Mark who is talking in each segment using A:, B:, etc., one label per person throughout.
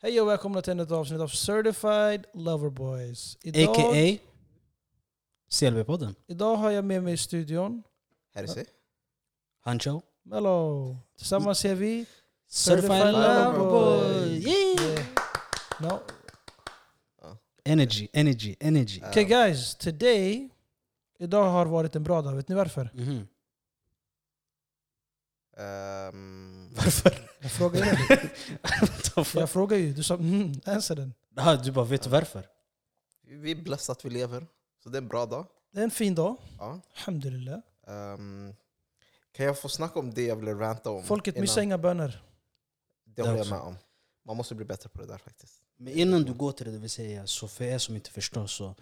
A: Hej och välkomna till ännu ett avsnitt av Certified Loverboys. Idag,
B: A.k.a. CLB-podden.
A: idag har jag med mig i studion
C: Herse?
B: Hancho.
A: Mello. Tillsammans är vi...
B: Certified
C: Lover
B: Lover
C: Boy.
B: Boy. Yay!
A: Yeah. No.
B: Energy, energy, energy.
A: Okay guys, today... Idag har varit en bra dag, vet ni varför?
B: Mhm.
C: Um,
B: Varför?
A: Jag frågar ju.
B: What the fuck?
A: Jag frågar ju. Du sa mm, answer den.
B: Ah, du bara, vet du varför?
C: vi är blessed att vi lever, så det är en bra dag.
A: Det är en fin dag.
C: Ja.
A: Alhamdulillah.
C: Ehm, kan jag få snacka om det jag ville ranta om?
A: Folket
C: Mm. innan?
A: missar inga böner.
C: Det håller
B: Det
C: jag
B: också.
C: med om. Man måste bli bättre på det där faktiskt.
B: Men innan du går till det, det vill säga, så för er som inte förstår så...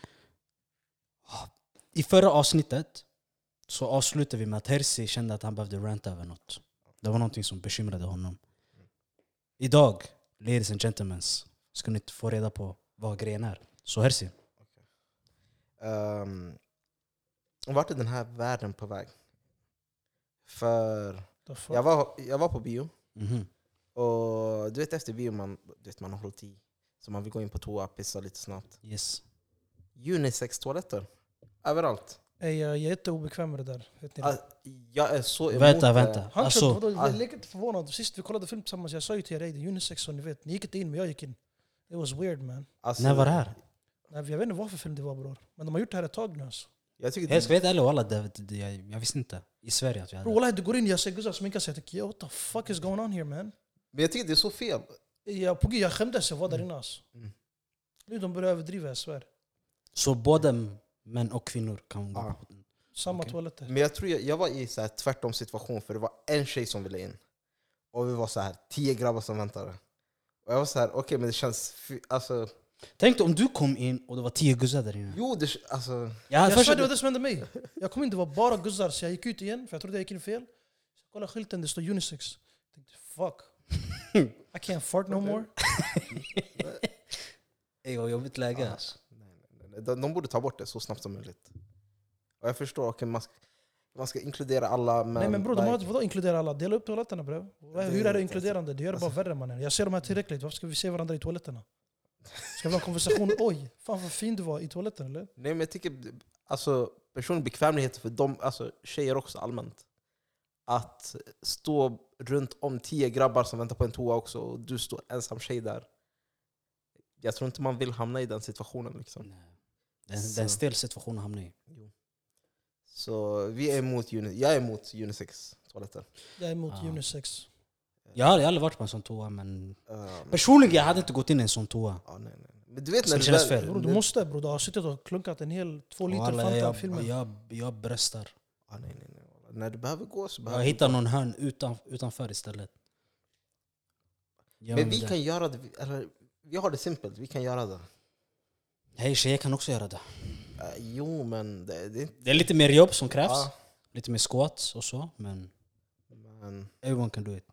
B: Ah, I förra avsnittet så avslutade vi med att Herzi kände att han behövde ranta över något. Det var någonting som bekymrade honom. Idag, ladies and gentlemen, ska ni få reda på vad grejen är. Så Herzi,
C: Um, vart är den här världen på väg? För
A: The fuck?
C: jag var, jag var på bio,
B: mhm.
C: och du vet efter bio man, du vet, man har hållit i. Så man vill gå in på toa, pissa lite snabbt.
B: yes.
C: Unisex-toaletter. Överallt.
A: Ey, Jag är jätteobekväm med det där. Vet ni det?
C: Ah, Jag eh, är så emot
B: Vänta,
C: det.
B: vänta.
A: Han alltså,
B: Alltså,
A: vadå, jag
C: alltså-
A: lek inte förvånad. Sist vi kollade film tillsammans, jag sa ju till er, "Ey, det är unisex och ni vet, ni gick inte in men jag gick in. It was weird man.
C: Alltså,
B: när var det här?
A: Nej, jag vet inte vad för film det var bror. Men de har gjort det här ett tag nu alltså.
C: Jag tycker
B: Jag
C: det,
B: ska vara helt ärlig, walla, det, det, jag, jag visste inte. I Sverige att vi
A: Bror
B: hade...
A: wallahi, du går in, jag ser Gustav sminka sig, jag tänker typ, "Yo, what the fuck is going on here man?
C: men jag tycker det är så fel.
A: Jag, på gud, jag skämdes, jag var där inne alltså.
C: Mm.
A: Nu de börjar överdriva, jag svär.
B: Så både män och kvinnor kan gå
C: Ah.
B: på den.
A: Samma
B: Okej.
A: toaletter.
C: Men jag tror jag, jag var i så här tvärtom situation för det var en tjej som ville in. Och vi var så här tio grabbar som väntade. Och jag var så här, okej men det känns... fy- Alltså,
B: Tänk dig om du kom in och det var tio guzzar där inne.
C: jo, det, alltså,
B: Jag,
A: Jag
B: först,
A: svär, det var det som hände mig. Jag kom in, det var bara guzzar, så jag gick ut igen, för jag trodde jag gick in fel. Så kolla skylten, det står unisex. Jag tänkte, fuck. I can't fart no more.
B: Ey, vad jobbigt läge
C: Ah.
B: alltså.
C: de, de borde ta bort det så snabbt som möjligt. Och jag förstår, okej man, ska- man ska inkludera alla men...
A: Nej men bror, de har,
C: like,
A: vadå inkludera alla? Dela upp toaletterna bre. Vad-
C: Det
A: Hur
C: är alltså-
A: är det
C: inte
A: inkluderande? Det gör det bara värre mannen. Jag ser de här tillräckligt, varför ska vi se varandra i toaletterna? Ska vi ha en konversation? Oj, fan vad fin du var i toaletten eller?
C: nej men jag tycker alltså, personlig bekvämlighet för de, alltså, tjejer också allmänt. Att stå runt om tio grabbar som väntar på en toa också och du står ensam tjej där. Jag tror inte man vill hamna i den situationen liksom.
B: Nej. Det är en- det är en stel situation att hamna i.
C: Så vi är emot uni- jag är emot unisex-toaletter.
A: Jag är emot
B: Ah.
A: unisex.
B: Jag har jag har aldrig varit på en sån toa, men
C: Um,
B: personligen jag hade inte gått in i en sån toa.
C: ja, nej, nej. Men du vet
B: Skulle
C: när
B: kännas
C: väl-
B: fel.
A: Bror du
C: när-
A: måste bror, du har suttit och klunkat en hel två liter
B: Walla,
A: Fanta i
B: jag,
A: filmen.
B: jag, jag bröstar.
C: Ja, nej, nej, nej. När du behöver gå så
B: Jag
C: behöver
B: hittar
C: du gå.
B: någon hörn utan, utanför istället. Gör
C: Men
B: mig
C: vi
B: det.
C: kan göra det. vi- Eller, vi har det simpelt, vi kan göra det.
B: Hej, tjejer kan också göra det.
C: Eh, jo, men det, det är inte...
B: Det är lite mer jobb som krävs.
C: Ja,
B: Lite mer squats och så, men
C: men,
B: everyone can do it.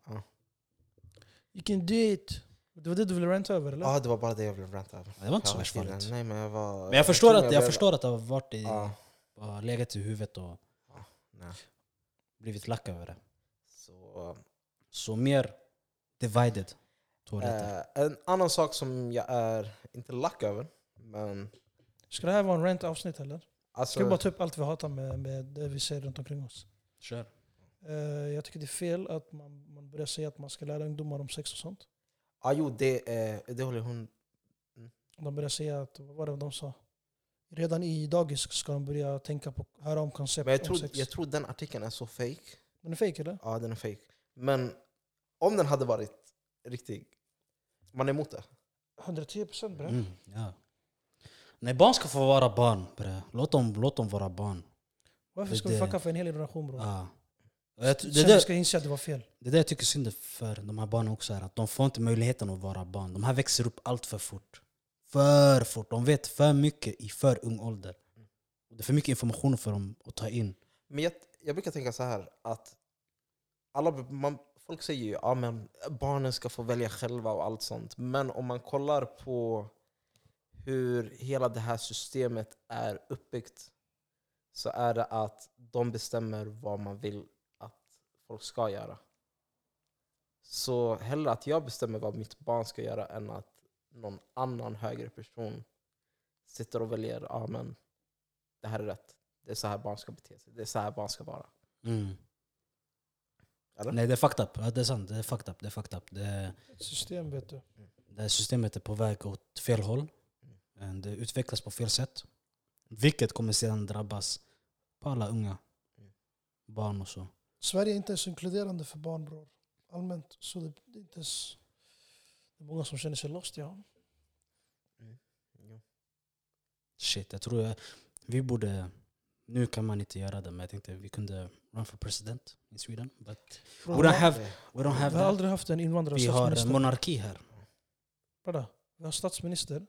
A: You can do it. Det var det du ville ranta över eller?
C: ja, det var bara det jag ville ranta över.
B: Det var inte så
C: Ja,
B: värst
C: tydligen.
B: farligt.
C: Nej, men jag var...
B: Men jag förstår
C: tror
B: att, jag
C: blev-
B: förstår att det har varit i,
C: Ja,
B: har legat i huvudet och
C: nej.
B: blivit lack över det.
C: Så,
B: Så mer divided toaletter.
C: eh, en annan sak som jag är, inte lack över, men...
A: Ska det här vara en rant avsnitt eller?
C: Alltså,
A: Ska vi bara ta upp allt vi hatar med, med det vi ser runt omkring oss?
B: Kör.
A: Eh, jag tycker det är fel att man, man börjar säga att man ska lära ungdomar om sex och sånt.
C: Ja, jo, det, eh, det håller hon...
A: De börjar säga att, vad var det de sa? Redan i dagis ska de börja tänka på, höra om koncept
C: Men jag
A: om
C: tror,
A: sex.
C: jag tror den artikeln är så fake.
A: Den är fejk eller?
C: Ja, den är fake. Men om den hade varit riktig, man är emot det.
A: 110 procent bre.
B: Mm, ja. Nej, barn ska få vara barn. Bre. Låt, dem, låt dem vara barn.
A: Varför
B: det-
A: ska vi fucka för en hel generation bror?
B: Ja. Och jag, ty- det,
A: Sen vi
B: där,
A: ska inse att det var fel.
B: det där jag tycker synd för de här barnen också är att de får inte möjligheten att vara barn. De här växer upp allt för fort. För fort. De vet för mycket i för ung ålder. Det är för mycket information för dem att ta in.
C: Men jag, jag brukar tänka så här att alla, man, folk säger ju att ja, men barnen ska få välja själva och allt sånt. Men om man kollar på hur hela det här systemet är uppbyggt så är det att de bestämmer vad man vill att folk ska göra. Så hellre att jag bestämmer vad mitt barn ska göra än att någon annan högre person sitter och väljer, ja ah, men det här är rätt. Det är så här barn ska bete sig. Det är så här barn ska vara.
B: Mm.
C: Eller?
B: Nej det är fucked up, ja, det är sant. Det är fucked up. Det är fucked up. Det är,
A: Ett system vet du.
B: det här systemet är på väg åt fel håll. Eh, Det utvecklas på fel sätt. Vilket kommer sedan drabbas på alla unga.
C: Mm.
B: Barn och så.
A: Sverige är inte ens inkluderande för barn bror. Allmänt. Så det, det är inte ens... Det är många som känner sig lost ja.
C: Jo.
B: Shit, jag tror jag, vi borde... Nu kan man inte göra det, men jag tänkte vi kunde run for president i Sweden. But
A: Bror,
B: we don't
A: vi har-
B: have, we
A: vi
B: don't
A: har
B: have that.
A: aldrig haft en invandrare
B: Vi har en
A: statsminister.
B: monarki här.
A: Bror, Vi har statsminister.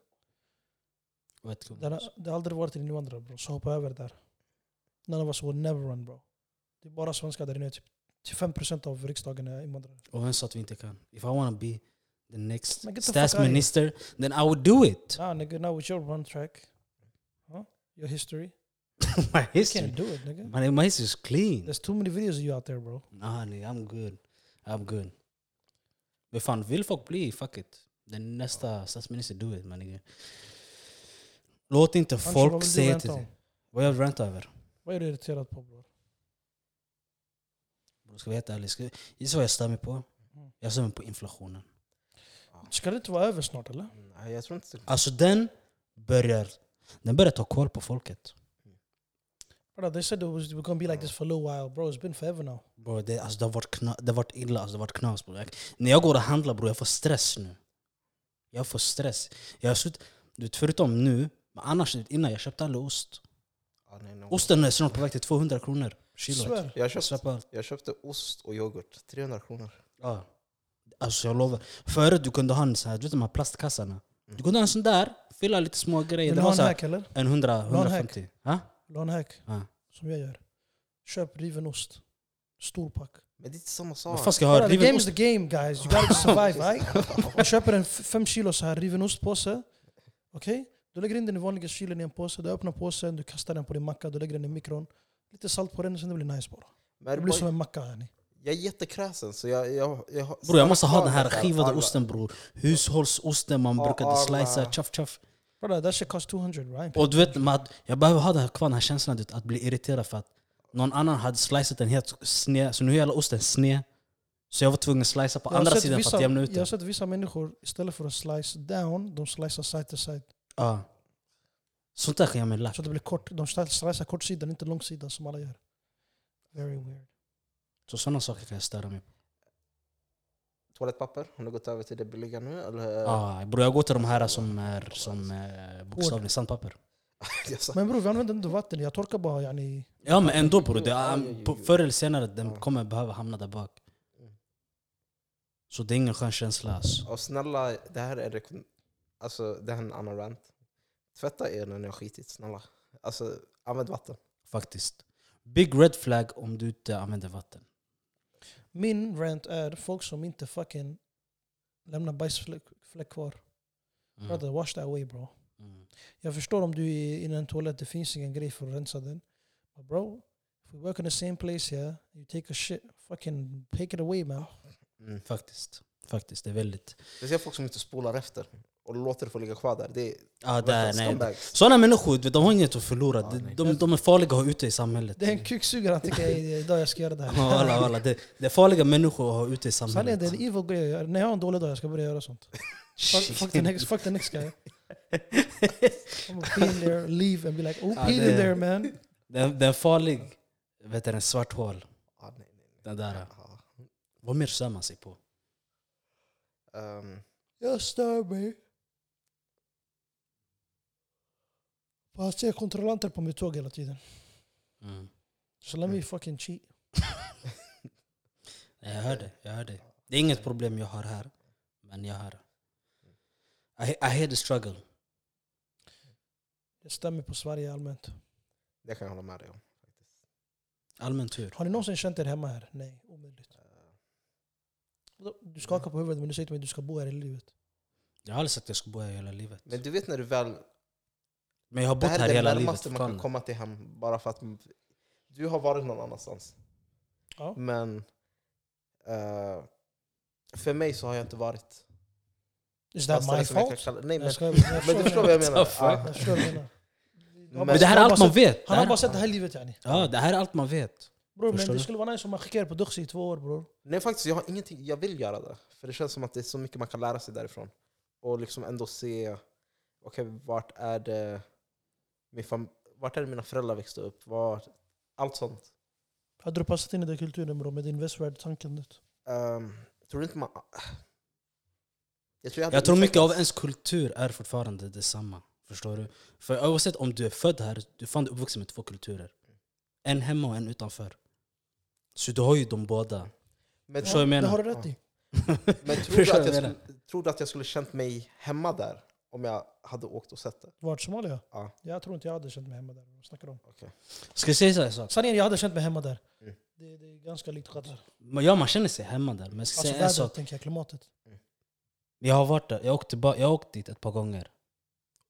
B: Och ett kung.
A: Det har, det har aldrig varit en invandrare bro, så hoppa över där. None of us will never run bro. Det är bara svenskar där inne. Typ 25% av riksdagen är invandrare.
B: Och vem sa att vi inte kan? If I wanna be the next
A: Men get the fuck out
B: statsminister, then I would do it.
A: Nah nigga, now with your run track. Huh? Your history.
B: My
A: You
B: history.
A: can't do it nigga.
B: My, my history is clean.
A: There's too many videos of you out there bro.
B: Nah, nej, I'm good. I'm good. Men fan, vill folk bli, fuck it. Den nästa statsminister, do it mannen. Låt inte
A: Kanske, vad
B: folk
A: vill du
B: säga
A: ranta
B: till
A: om?
B: dig. Vad jag rantar över?
A: Vad är du irriterad på bror?
B: Bro, Ska vi vara helt ärlig, ska- gissa vad jag stör mig på?
A: Mm.
B: Jag stör mig på inflationen.
A: Ska det inte vara över snart eller?
C: Nej, jag tror inte det.
B: Alltså den börjar, den börjar ta koll på folket.
A: Brother, they said it was, we're gonna be like this for a little while bro. It's been forever now.
B: Bro, det, alltså, det, har varit kna, det har varit illa, alltså, det har varit knas. Bro. Jag, när jag går och handlar bro, jag får stress nu. Jag får stress. Jag har slut, du vet, förutom nu, men annars innan jag köpte aldrig ost.
C: Ja, nej, no.
B: Osten är snart på väg till 200 kronor kilot.
A: Svär.
C: jag,
B: Jag svär
C: köpte,
B: på allt.
C: jag köpte ost och yoghurt. 300 kronor.
B: Ja. Alltså jag lovar. Förut du kunde ha en sån här, du vet de här plastkassarna. Du kunde ha en sån där, fylla lite små grejer.
A: Vill
B: Det
A: du ha
B: var
A: en
B: så här,
A: hack eller?
B: en 100,
A: ha en
B: 150. Ha?
A: Vill du ha en hack?
B: Ja.
A: Som jag gör. Köp riven ost. Stor pack.
C: Men det är inte samma
B: Vad
C: sak.
B: fan ska jag
A: Bror,
B: ha?
A: the game
B: Riven
A: is
B: ost?
A: the game guys, you gotta survive. right? Jag köper en f- fem kilo så här riven ostpåse. Okej? Du lägger in den i vanliga kylen i en påse, du öppnar påsen, du kastar den på din macka, du lägger den i mikron. Lite salt på den och sen det blir nice bara.
C: Men
A: Det blir
C: boy,
A: som en macka hörni.
C: Jag är jättekräsen så jag... jag, jag har-
B: Bror jag måste ha den här
C: Alla-
B: skivade
C: alla-
B: osten bror. Hushållsosten man
C: Ja,
B: brukade
C: alla-
B: slicea, tjoff tjoff.
A: Brother that shit cost 200 right?
B: Och du vet, man, jag behöver ha den här, kvar den här känslan du vet, att bli irriterad för att någon annan hade slicat den helt sned, så nu är hela osten sned. Så jag var tvungen att slicea på
A: Jag har
B: andra
A: sett
B: sidan för
A: vissa-
B: att jämna ut
A: Jag har
B: den.
A: sett vissa människor, istället för att slice down, de slicear side to side.
B: Ja. Sånt där kan jag mig lack.
A: Så det blir kort, de slicear kortsidan, inte långsidan som alla gör. Very weird.
B: Så sådana saker kan jag störa mig på.
C: Toalettpapper, har ni gått över till det billiga nu? Eller?
B: Ah, bror jag går till de här som är som eh, bokstavligen sandpapper.
C: Jag sa-
A: Men bror vi använder inte vatten, jag torkar bara yani.
B: Ja men ändå bror, det
C: Ja,
B: är, um,
C: ja, ja,
B: på-
C: ja.
B: förr eller senare den
C: Ja.
B: kommer behöva hamna där bak.
C: Mm.
B: Så det är ingen skön känsla alltså.
C: Och snälla, det här är rekom- alltså, det här är en annan rant. Tvätta er när ni har skitit, snälla. Alltså, använd vatten.
B: Faktiskt. Big red flag om du inte använder vatten.
A: Min rant är folk som inte fucking lämnar bajsfläck fläck kvar.
B: Mm.
A: Brother, wash that away bro.
B: Mm.
A: Jag förstår om du är inne i en toalett, det finns ingen grej för att rensa den. But bro, if we work in the same place here, you take a shit, fucking take it away
B: Oh,
A: man.
C: Mm.
B: Faktiskt. Faktiskt, det är väldigt...
C: Jag ser folk som inte spolar efter och låter det få ligga kvar där. Det är
B: Ah, där, nej.
C: scumbags.
B: Sådana människor, du vet, de har inget att förlora.
C: Ja,
B: De,
C: nej.
B: de, de är farliga att ha ute i samhället.
A: Det är en kuksugare han tycker jag är- idag jag ska göra det här.
B: mm. Ja, Walla, walla. Det, det är farliga människor att ha ute i
A: Sanningen,
B: samhället.
A: det är en evil grej jag gör. När jag har en dålig dag jag ska börja göra sånt. Fuck, fuck, the, next, fuck the next guy. I'm gonna pee in there, leave and be like, oh
B: Ja,
A: pee in
B: det-
A: there man.
B: Det är, det är en farlig, vet du, en svart hål.
C: Ja, nej, nej, nej.
B: Den där.
C: Ja.
B: Vad mer stör man sig på?
C: Ehm,
A: Jag stör mig. Bara ser kontrollanter på mitt tåg hela tiden.
B: Mm.
A: Så let
C: Mm.
A: me fucking cheat.
B: Nej, Jag hör det, jag hör det. Det är inget problem jag har här. Men jag har I, I hear the struggle.
A: Jag stämmer på Sverige allmänt.
C: det kan jag hålla med dig om. faktiskt.
B: Allmän tur.
A: Har ni någonsin känt er hemma här? Nej, omöjligt.
C: Ehm,
A: Du skakar på huvudet men du säger till mig att du ska bo här i livet.
B: Jag har aldrig sagt att jag ska bo här hela livet.
C: Men du vet när du väl
B: Men jag har
C: Det
B: bott
C: här
B: här
C: är det
B: hela livet
C: närmaste man kan
B: fortfarande.
C: komma till hem. Bara för att du har varit någon annanstans.
A: Ja.
C: Men eh, För mig så har jag inte varit...
A: Is that
C: fastare
A: my
C: som jag kan
A: fault?
C: kalla- Nej, men,
A: Jag ska- jag
C: men du förstår vad jag menar.
B: What the
C: Ja.
A: Jag förstår vad du menar.
C: Men-
B: Men det här är allt man vet. Det
A: Han har bara
B: här,
A: sett det här livet yani.
B: ja, det här är allt man vet.
A: Bror men
B: Förstår
A: det
B: du?
A: skulle vara nice om man skickar på Duxi i två år bror.
C: Nej faktiskt, jag har ingenting. Jag vill göra det. För det känns som att det är så mycket man kan lära sig därifrån. Och liksom ändå se, okej vart är det min fam- vart är det mina föräldrar växte upp? Vart, allt sånt.
A: Hade du passat in i den kulturen bror med din västvärld-tanken?
C: Ehm, tror du inte man... Jag tror, hade
B: Jag tror mycket av
C: utvecklats.
B: ens kultur är fortfarande detsamma. Förstår du? För oavsett om du är född här, du är fan uppvuxen med två kulturer. En hemma och en utanför. Så du har ju de båda.
C: Men,
B: Förstår du vad jag
A: Det
B: menar?
A: har du rätt i.
C: men tror, du
B: Förstår
C: att
B: vad
C: jag
B: jag menar?
C: skulle, tror du att jag skulle känt mig hemma där om jag hade åkt och sett det?
A: Vart Somalia?
C: Ja.
A: Jag tror inte jag hade känt mig hemma där. Vad snackar du om?
B: Ska jag säga så här en sak?
A: Sanningen, jag hade känt mig hemma där.
C: Mm.
A: Det, det är ganska likt Qatar.
B: Men Ja, man känner sig hemma där. Men jag ska
A: Alltså
B: säga en sak.
A: vädret tänker jag, klimatet.
B: Jag har varit där. Jag har åkt, tillba- jag har åkt dit ett par gånger.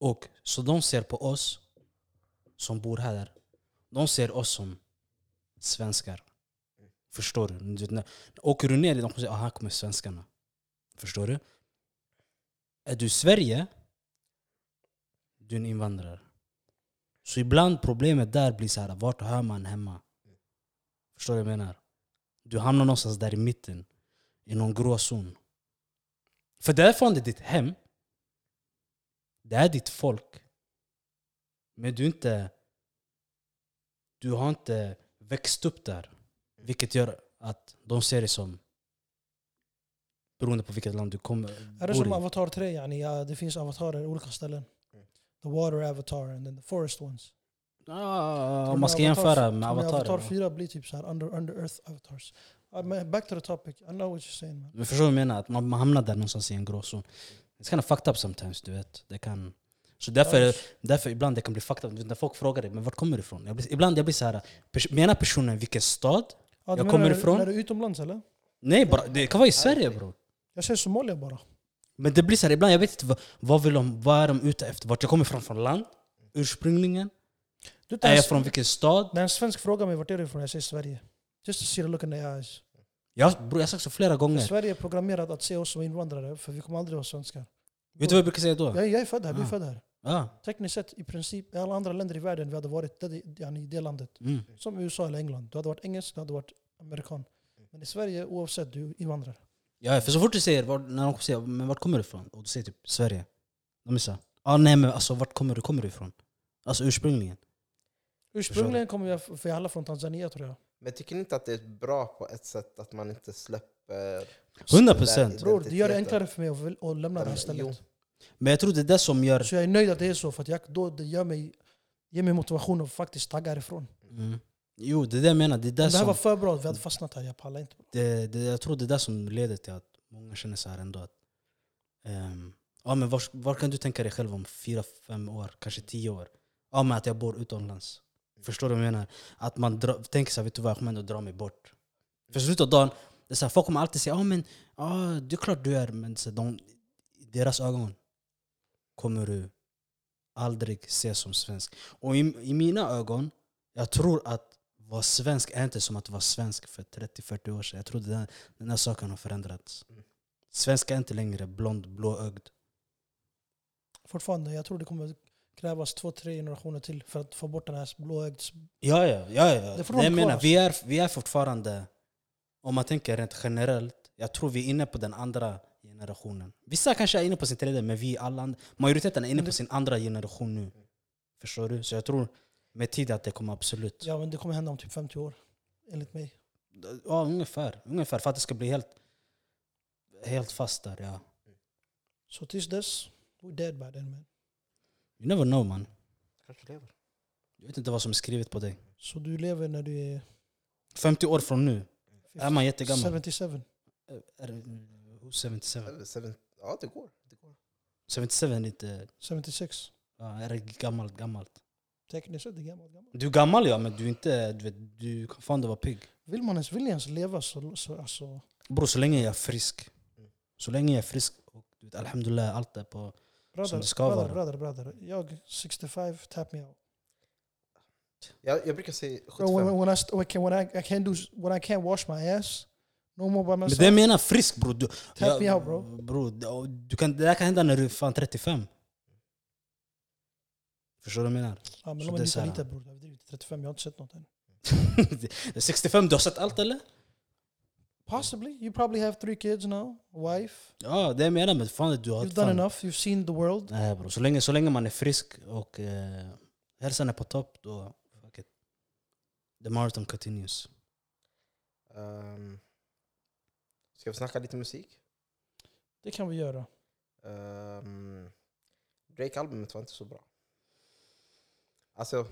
B: Och Så de ser på oss som bor här. De ser oss som svenskar. Förstår du? du vet, när, åker du ner, de kommer säga att här kommer svenskarna. Förstår du? Är du i Sverige, du är en invandrare. Så ibland problemet där blir så här, vart hör man hemma? Förstår du vad jag menar? Du hamnar någonstans där i mitten, i någon gråzon. För därifrån det är ditt hem. Det är ditt folk. Men du är inte... Du har inte växt upp där. Vilket gör att de ser dig som... Beroende på vilket land du kommer
A: Är det som
B: bor i.
A: Avatar 3? Yani, ja, det finns avatarer i olika ställen.
C: Mm.
A: The water avatar and then the forest ones.
B: Ah,
A: Tror
B: om
A: ni
B: man ska
A: Avatar-
B: jämföra med
A: tror ni
B: avatarer.
A: Avatar 4 blir typ så här under, under earth avatars. Ja, men back to the topic. I know what you're saying man.
B: Men förstår du vad jag menar? Att man, man hamnar där någonstans i en gråzon. It's kind of fucked up sometimes, du vet. Det kan... Så därför,
A: Ja.
B: därför ibland det kan bli fucked up. Du vet, När folk frågar dig, men vart kommer du ifrån? Jag blir, ibland jag blir så här, pers- menar personen vilken stad?
A: Ja, du
B: Jag
A: menar
B: kommer
A: när-
B: ifrån.
A: När du är utomlands eller?
B: Nej, bara, det kan vara i Sverige bror.
A: Jag säger Somalia bara.
B: Men det blir så här, ibland jag vet inte vad, vad vill de, vad är de ute efter? Vart jag kommer ifrån från land? Ursprungligen?
A: Du,
B: Är jag från vilken stad?
A: När en svensk frågar mig vart är du ifrån, jag säger Sverige. Just to see the look in their eyes.
B: Jag, bror, jag har sagt så flera
A: För
B: gånger.
A: Sverige är programmerat att se oss som invandrare, för vi kommer aldrig vara svenskar.
B: Vet du vad jag brukar säga då?
A: Jag, jag är född här, du är
B: Ah.
A: född här.
B: Ja.
A: Tekniskt sett, i princip, i alla andra länder i världen vi hade varit, det, yani, det landet.
B: Mm.
A: Som USA eller England. Du hade varit engelsk, du hade varit amerikan.
B: Mm.
A: Men i Sverige, oavsett, du är invandrare.
B: Ja, för så fort du säger, var, när de säger men vart kommer du ifrån? Och du säger typ Sverige. De är såhär, ah, nej men alltså vart kommer du, kommer du ifrån? Alltså ursprungligen.
A: Ursprungligen kommer jag, för jag är alla från Tanzania tror jag.
C: Men tycker ni inte att det är bra på ett sätt att man inte släpper...
B: 100 procent.
A: Bror, det gör det
C: identiteten?
A: enklare för mig att, väl- att lämna det här stället.
B: Men jag tror det är det som gör...
A: Så jag är nöjd att det är så, för att jag, då, det gör mig, ger mig motivation att faktiskt tagga ifrån.
B: Mm. Jo, det är det jag menar. Det är Mm. det
A: Det här var
B: som,
A: för bra, vi hade fastnat här, jag pallar inte.
B: det, det, jag tror det är det som leder till att många känner så här ändå att... ehm, ja men var, var kan du tänka dig själv om fyra, fem år, kanske tio år? Ja men att jag bor utomlands. Förstår du vad jag menar? Att man dra, tänker såhär, vet du vad, jag kommer ändå dra mig bort. För slutet av dagen, det är så här, folk kommer alltid säga ja men ja, det är klart du är, men så här, de, i deras ögon kommer du aldrig ses som svensk. Och i, i mina ögon, jag tror att vara svensk är inte som att vara svensk för 30-40 år sedan. Jag tror den, den här saken har förändrats.
C: Mm.
B: Svensk är inte längre blond, blåögd.
A: Fortfarande, jag tror det kommer krävas två, tre generationer till för att få bort den här blåögds...
B: Ja, ja, ja. ja.
A: Det
B: Det
A: får
B: jag
A: de kvar,
B: menar,
A: alltså.
B: vi, är, vi är fortfarande, om man tänker rent generellt, jag tror vi är inne på den andra generationen. Vissa kanske är inne på sin tredje, men vi alla, and- majoriteten är inne
A: Men det-
B: på sin andra generation nu. Förstår du? Så jag tror med tiden att det kommer absolut. Ja,
A: Ja men det kommer hända om typ 50 år, enligt mig.
B: ungefär, ungefär. För att det ska bli helt, helt fast där. Ja.
A: Så tills dess, we're dead by then man.
B: You never know man.
C: Kanske lever.
B: Jag vet inte vad som är skrivet på dig.
A: Så du lever när du är
B: 50 år från nu är man jättegammal.
A: 77.
B: Är oh, det- who's 77?
C: Eller seven- Ja, det går. Det går.
B: 77 är inte...
A: 76.
B: Ja, är det gammalt, gammalt?
A: Tekniskt sett är det gammalt, gammalt.
B: Du är gammal ja, men du är inte... Du, vet, du kan fan vara pigg.
A: Vill man ens, vill jag ens leva så... så alltså,
B: Bror, så länge jag är frisk. Så länge jag är frisk och du vet, alhamdulillah, allt är på...
A: brother,
B: det ska
A: brother,
B: vara.
A: brother, brother. Jag 65, tap me out.
C: Jag, jag brukar säga
A: Bro, when,
C: 75.
A: when, I, st- when, I, I can't do, when I can't wash my ass, No mobbar
B: Men
A: men
B: det jag menar frisk bror. Du,
A: Tap me out, bro.
B: bro du- du kan, det där kan hända när du är fan 35. Förstår du vad jag menar?
A: Ja, men
B: så
A: de
B: det
A: är
B: är så
A: lite
B: här.
A: lite bror. Jag har drivit 35, jag har inte sett något än.
B: Det är 65, du har sett allt eller?
A: Possibly. You probably have three kids now, wife.
B: Ja, det jag menar. Men fan, du har
A: You've done
B: fan-
A: enough, you've seen the world.
B: Nej Eh, bro, så länge, så länge man är frisk och eh, hälsan är på topp, då... Fuck it. The marathon continues.
C: Ehm, ska vi snacka lite musik?
A: Det kan vi göra.
C: Ehm, Drake-albumet var inte så bra. Alltså,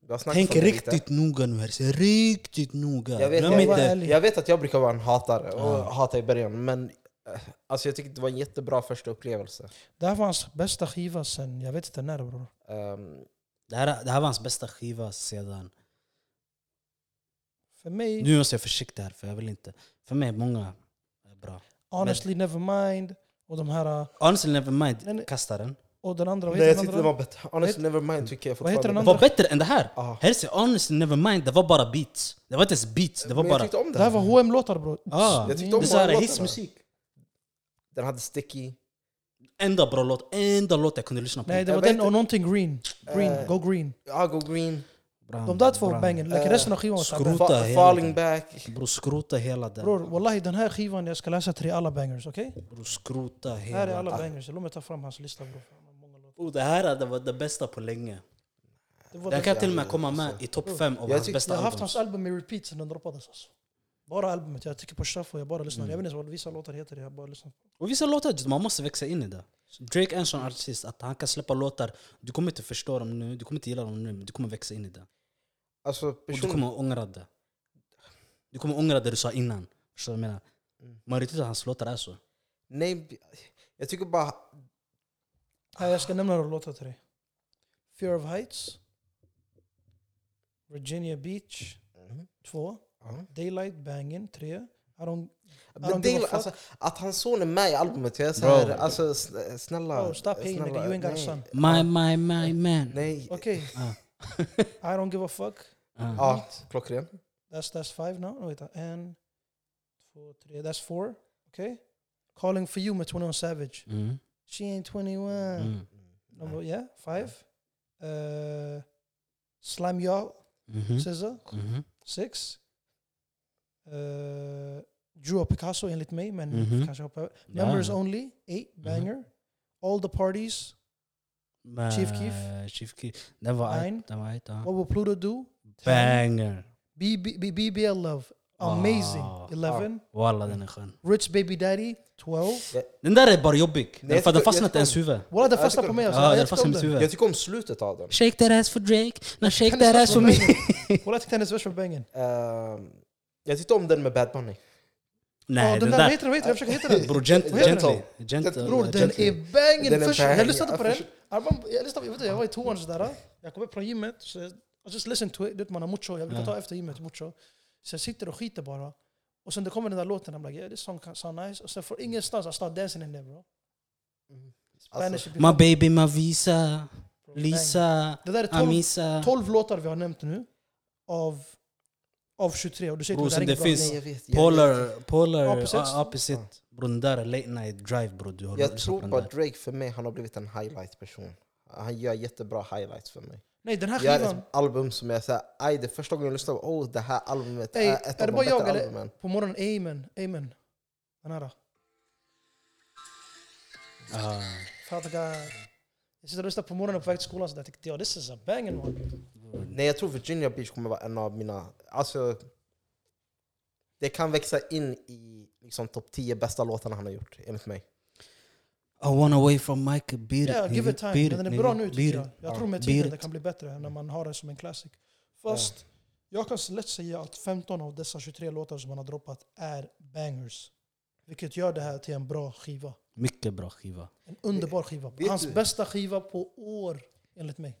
C: vi har snackat
B: Tänk
C: om det lite.
B: riktigt noga nu här. Se riktigt noga.
C: Jag vet,
B: Glöm
C: jag
A: var
B: inte.
A: ärlig.
C: Jag vet att jag brukar vara en hatare, och
B: Ja.
C: hata i början, men eh, alltså, jag tyckte det var en jättebra första upplevelse.
A: Det här var hans bästa skiva sen, jag vet inte när bror.
C: Ehm,
B: Det här, det här var hans bästa skiva sedan...
A: För mig,
B: Nu måste jag försiktig här, för jag vill inte... För mig är många är bra.
A: Honestly Nevermind och de här...
B: Honestly nevermind,
A: Nej, nej.
B: kasta den.
A: Och den andra, vad
C: nej, jag
A: heter
C: tyckte
A: den
C: den
A: andra?
C: var bättre. Honestly, Nevermind tycker jag
A: Vad heter
C: fortfarande
A: den
C: Ah.
B: Det
A: andra?
B: var
C: är
B: bättre än det här.
C: Ja.
B: Här ser honestly nevermind, det var bara beats. Det var inte ens beats, det
C: bättre.
B: var
C: Men jag
B: bara...
C: tyckte om
A: Det här
C: den.
A: var hm låtar bror.
B: Ah,
C: Jag tyckte
B: det
C: om
B: är såhär
C: låtarna.
B: hissmusik.
C: Den hade sticky.
B: Enda bra låt, enda låt jag kunde lyssna på.
A: Nej, det
C: Jag
A: var
C: vet
A: den
C: inte.
A: och någonting green. Green,
C: Eh,
A: go green.
C: Ja, Go Green,
B: Bra,
A: De där två
B: bra.
A: var banger, like
C: Eh,
A: resten av skivan var
B: skrot.
A: såhär.
B: Rota
C: Fa-
B: hela den.
C: Falling Back.
B: Bror skrota hela den.
A: Bror, wallahi den här skivan, jag ska läsa tre alla bangers, okej?
B: Bror skrota hela
A: Här är alla
B: den.
A: bangers, låt mig ta fram hans lista bror. Fan, vad många låtar.
B: Bror, det här det var det bästa på länge.
A: Det var
B: Det här
A: den-
B: kan till och med komma med i
A: Bror,
B: topp 5 av
C: jag
B: hans
C: tyckte-
A: Jag
B: bästa
A: har haft
B: album.
A: hans album i repeat sen den droppades alltså. Bara albumet, jag tycker på shuffle och jag bara lyssnar.
B: Mm.
A: Jag vet inte vad vissa låtar heter, jag bara lyssnar.
B: Och vissa låtar, man måste växa in i det. Drake är en sån artist att han kan släppa låtar, du kommer inte förstå dem nu, du kommer inte gilla dem nu, men du kommer växa in i det.
C: Alltså,
B: Och du
C: person...
B: kommer ångra det. Du kommer ångra det du sa innan. Förstår du vad jag menar?
C: Mm.
B: Majoriteten av hans låtar är så.
C: Nej, jag tycker bara...
A: Här, jag ska nämna några låtar till dig. Fear of Heights. Virginia Beach.
C: Mhm.
A: Två.
C: Ja.
A: Daylight Bangin. Tre. I don't,
C: Men
A: don't
C: det,
A: give a fuck.
C: alltså, att hans son är med i albumet, jag är såhär,
B: Bro.
C: alltså sn- snälla.
A: Oh, stop hating,
C: snälla,
A: nigga, you ain't got a
C: nej.
A: son.
B: My, my, my man.
C: Nej.
A: Okej.
B: Ah.
A: I don't give a fuck.
B: Ah.
C: Ja, klockren.
A: That's, that's five now. Wait, en, två, tre. That's four. Okej. Calling for you med 21 Savage.
B: Mm.
A: She ain't 21.
B: Mm.
A: Number, yeah, five. Uh, Slam Y'all.
B: Mhm.
A: SZA.
B: Mhm.
A: Six. Uh, Drew och Picasso enligt mig, men
B: Mhm.
A: kanske hoppar över.
B: Ja.
A: Members Only, eight,
B: Mm-hmm.
A: banger. All the parties,
B: Men-
A: Chief Keef.
B: Chief Keef. Den var
A: Nine.
B: ajt. Den var ajt. ja.
A: What Will Pluto Do?
B: Banger.
A: BB, B- BBL Love, amazing.
B: Ah.
A: Eleven.
B: Walla den är skön.
A: Rich Baby Daddy, twelve.
B: Den där är bara jobbig.
C: jag
B: Den, för den
C: tycker-
B: fastnar
C: jag
B: inte ens huvud.
A: Walla, det
C: Jag
A: fastnar
C: tycker-
A: på mig alltså.
B: Ja,
A: jag
B: den
A: tycker
B: fastnar
A: om
B: i mitt
A: den.
C: Jag
B: huvud.
C: tycker om slutet av den.
B: Shake that ass for Drake. Now shake
A: Hennes
B: that ass
A: vers
B: for
A: var
B: me.
A: banging. Walla, jag tyckte hennes vers var banging.
C: Ehm, jag tyckte om den med Bad Bunny.
A: Ja,
B: Nej,
A: den där, vad heter den? Vad heter den? Jag försöker hitta den.
B: Bror, gent,
A: Vad heter den?
B: gently. Gentle,
A: Bror, den
B: gently.
A: är banging!
C: Den är Alltså,
A: Först, jag
C: banging,
A: lyssnade på
C: ja,
A: den. Jag, bara, jag, lyssnade, jag, vet inte, jag var i toan sådär. Jag kom upp från gymmet. Så jag, I just listen to it. Du vet, Man har mucho. Jag brukar ta efter gymmet mucho. Så jag sitter och skiter bara. Och sen det kommer den där låten. I'm like, yeah, this song sound nice. Och sen från ingenstans, I start dancing in there bro.
B: Alltså,
A: Spanish
C: Alltså,
A: if you
B: My
A: want,
B: baby, my visa.
A: bro. Bang.
B: Lisa.
A: Det där är 12,
B: Amisa.
A: 12 låtar vi har nämnt nu. Av, av 23. Och du säger
B: Bro,
A: att det där
B: sen
A: är inget
B: det
A: bra.
B: finns-
C: nej, jag vet, jag vet.
B: Polar, polar
A: Opposites. Oh.
B: opposite. opposite. Bror, den där är late night drive bror. Du har
C: Jag
B: lyssnat
C: tror
B: på den
C: bara
B: där.
C: Drake för mig, han har blivit en highlight-person. Han gör jättebra highlights för mig.
A: Nej, den här
C: Jag har
A: skivan.
C: ett album som jag säger, aj det är första gången jag lyssnar på, oh det här albumet
A: Ey,
C: är ett
A: är
C: av
A: det
C: de
A: bara jag
C: bättre
A: eller?
C: albumen.
A: På morgonen, amen, amen. Den här. då.
B: Ah.
A: Fattar jag. Jag sitter och lyssnar på morgonen på väg till skolan så där tänkte jag this is a banging one.
C: Nej jag tror Virginia Beach kommer vara en av mina, alltså det kan växa in i liksom topp 10 bästa låtarna han har gjort, enligt mig.
B: I want away from Mike, beat it.
A: Yeah, give
B: nigga.
A: it time.
B: Beat
A: Men den
B: it,
A: är bra
B: nigga.
A: nu
B: Beat
A: tycker jag.
B: it.
A: Jag
C: Ja.
A: tror med
B: Beat
A: tiden
B: it.
A: det kan bli bättre när man har det som en classic. Fast jag kan lätt säga att 15 av dessa 23 låtar som han har droppat är bangers. Vilket gör det här till en bra skiva.
B: Mycket bra skiva.
A: En underbar skiva.
C: Eh, Vet
A: Hans
C: du-
A: bästa skiva på år, enligt mig.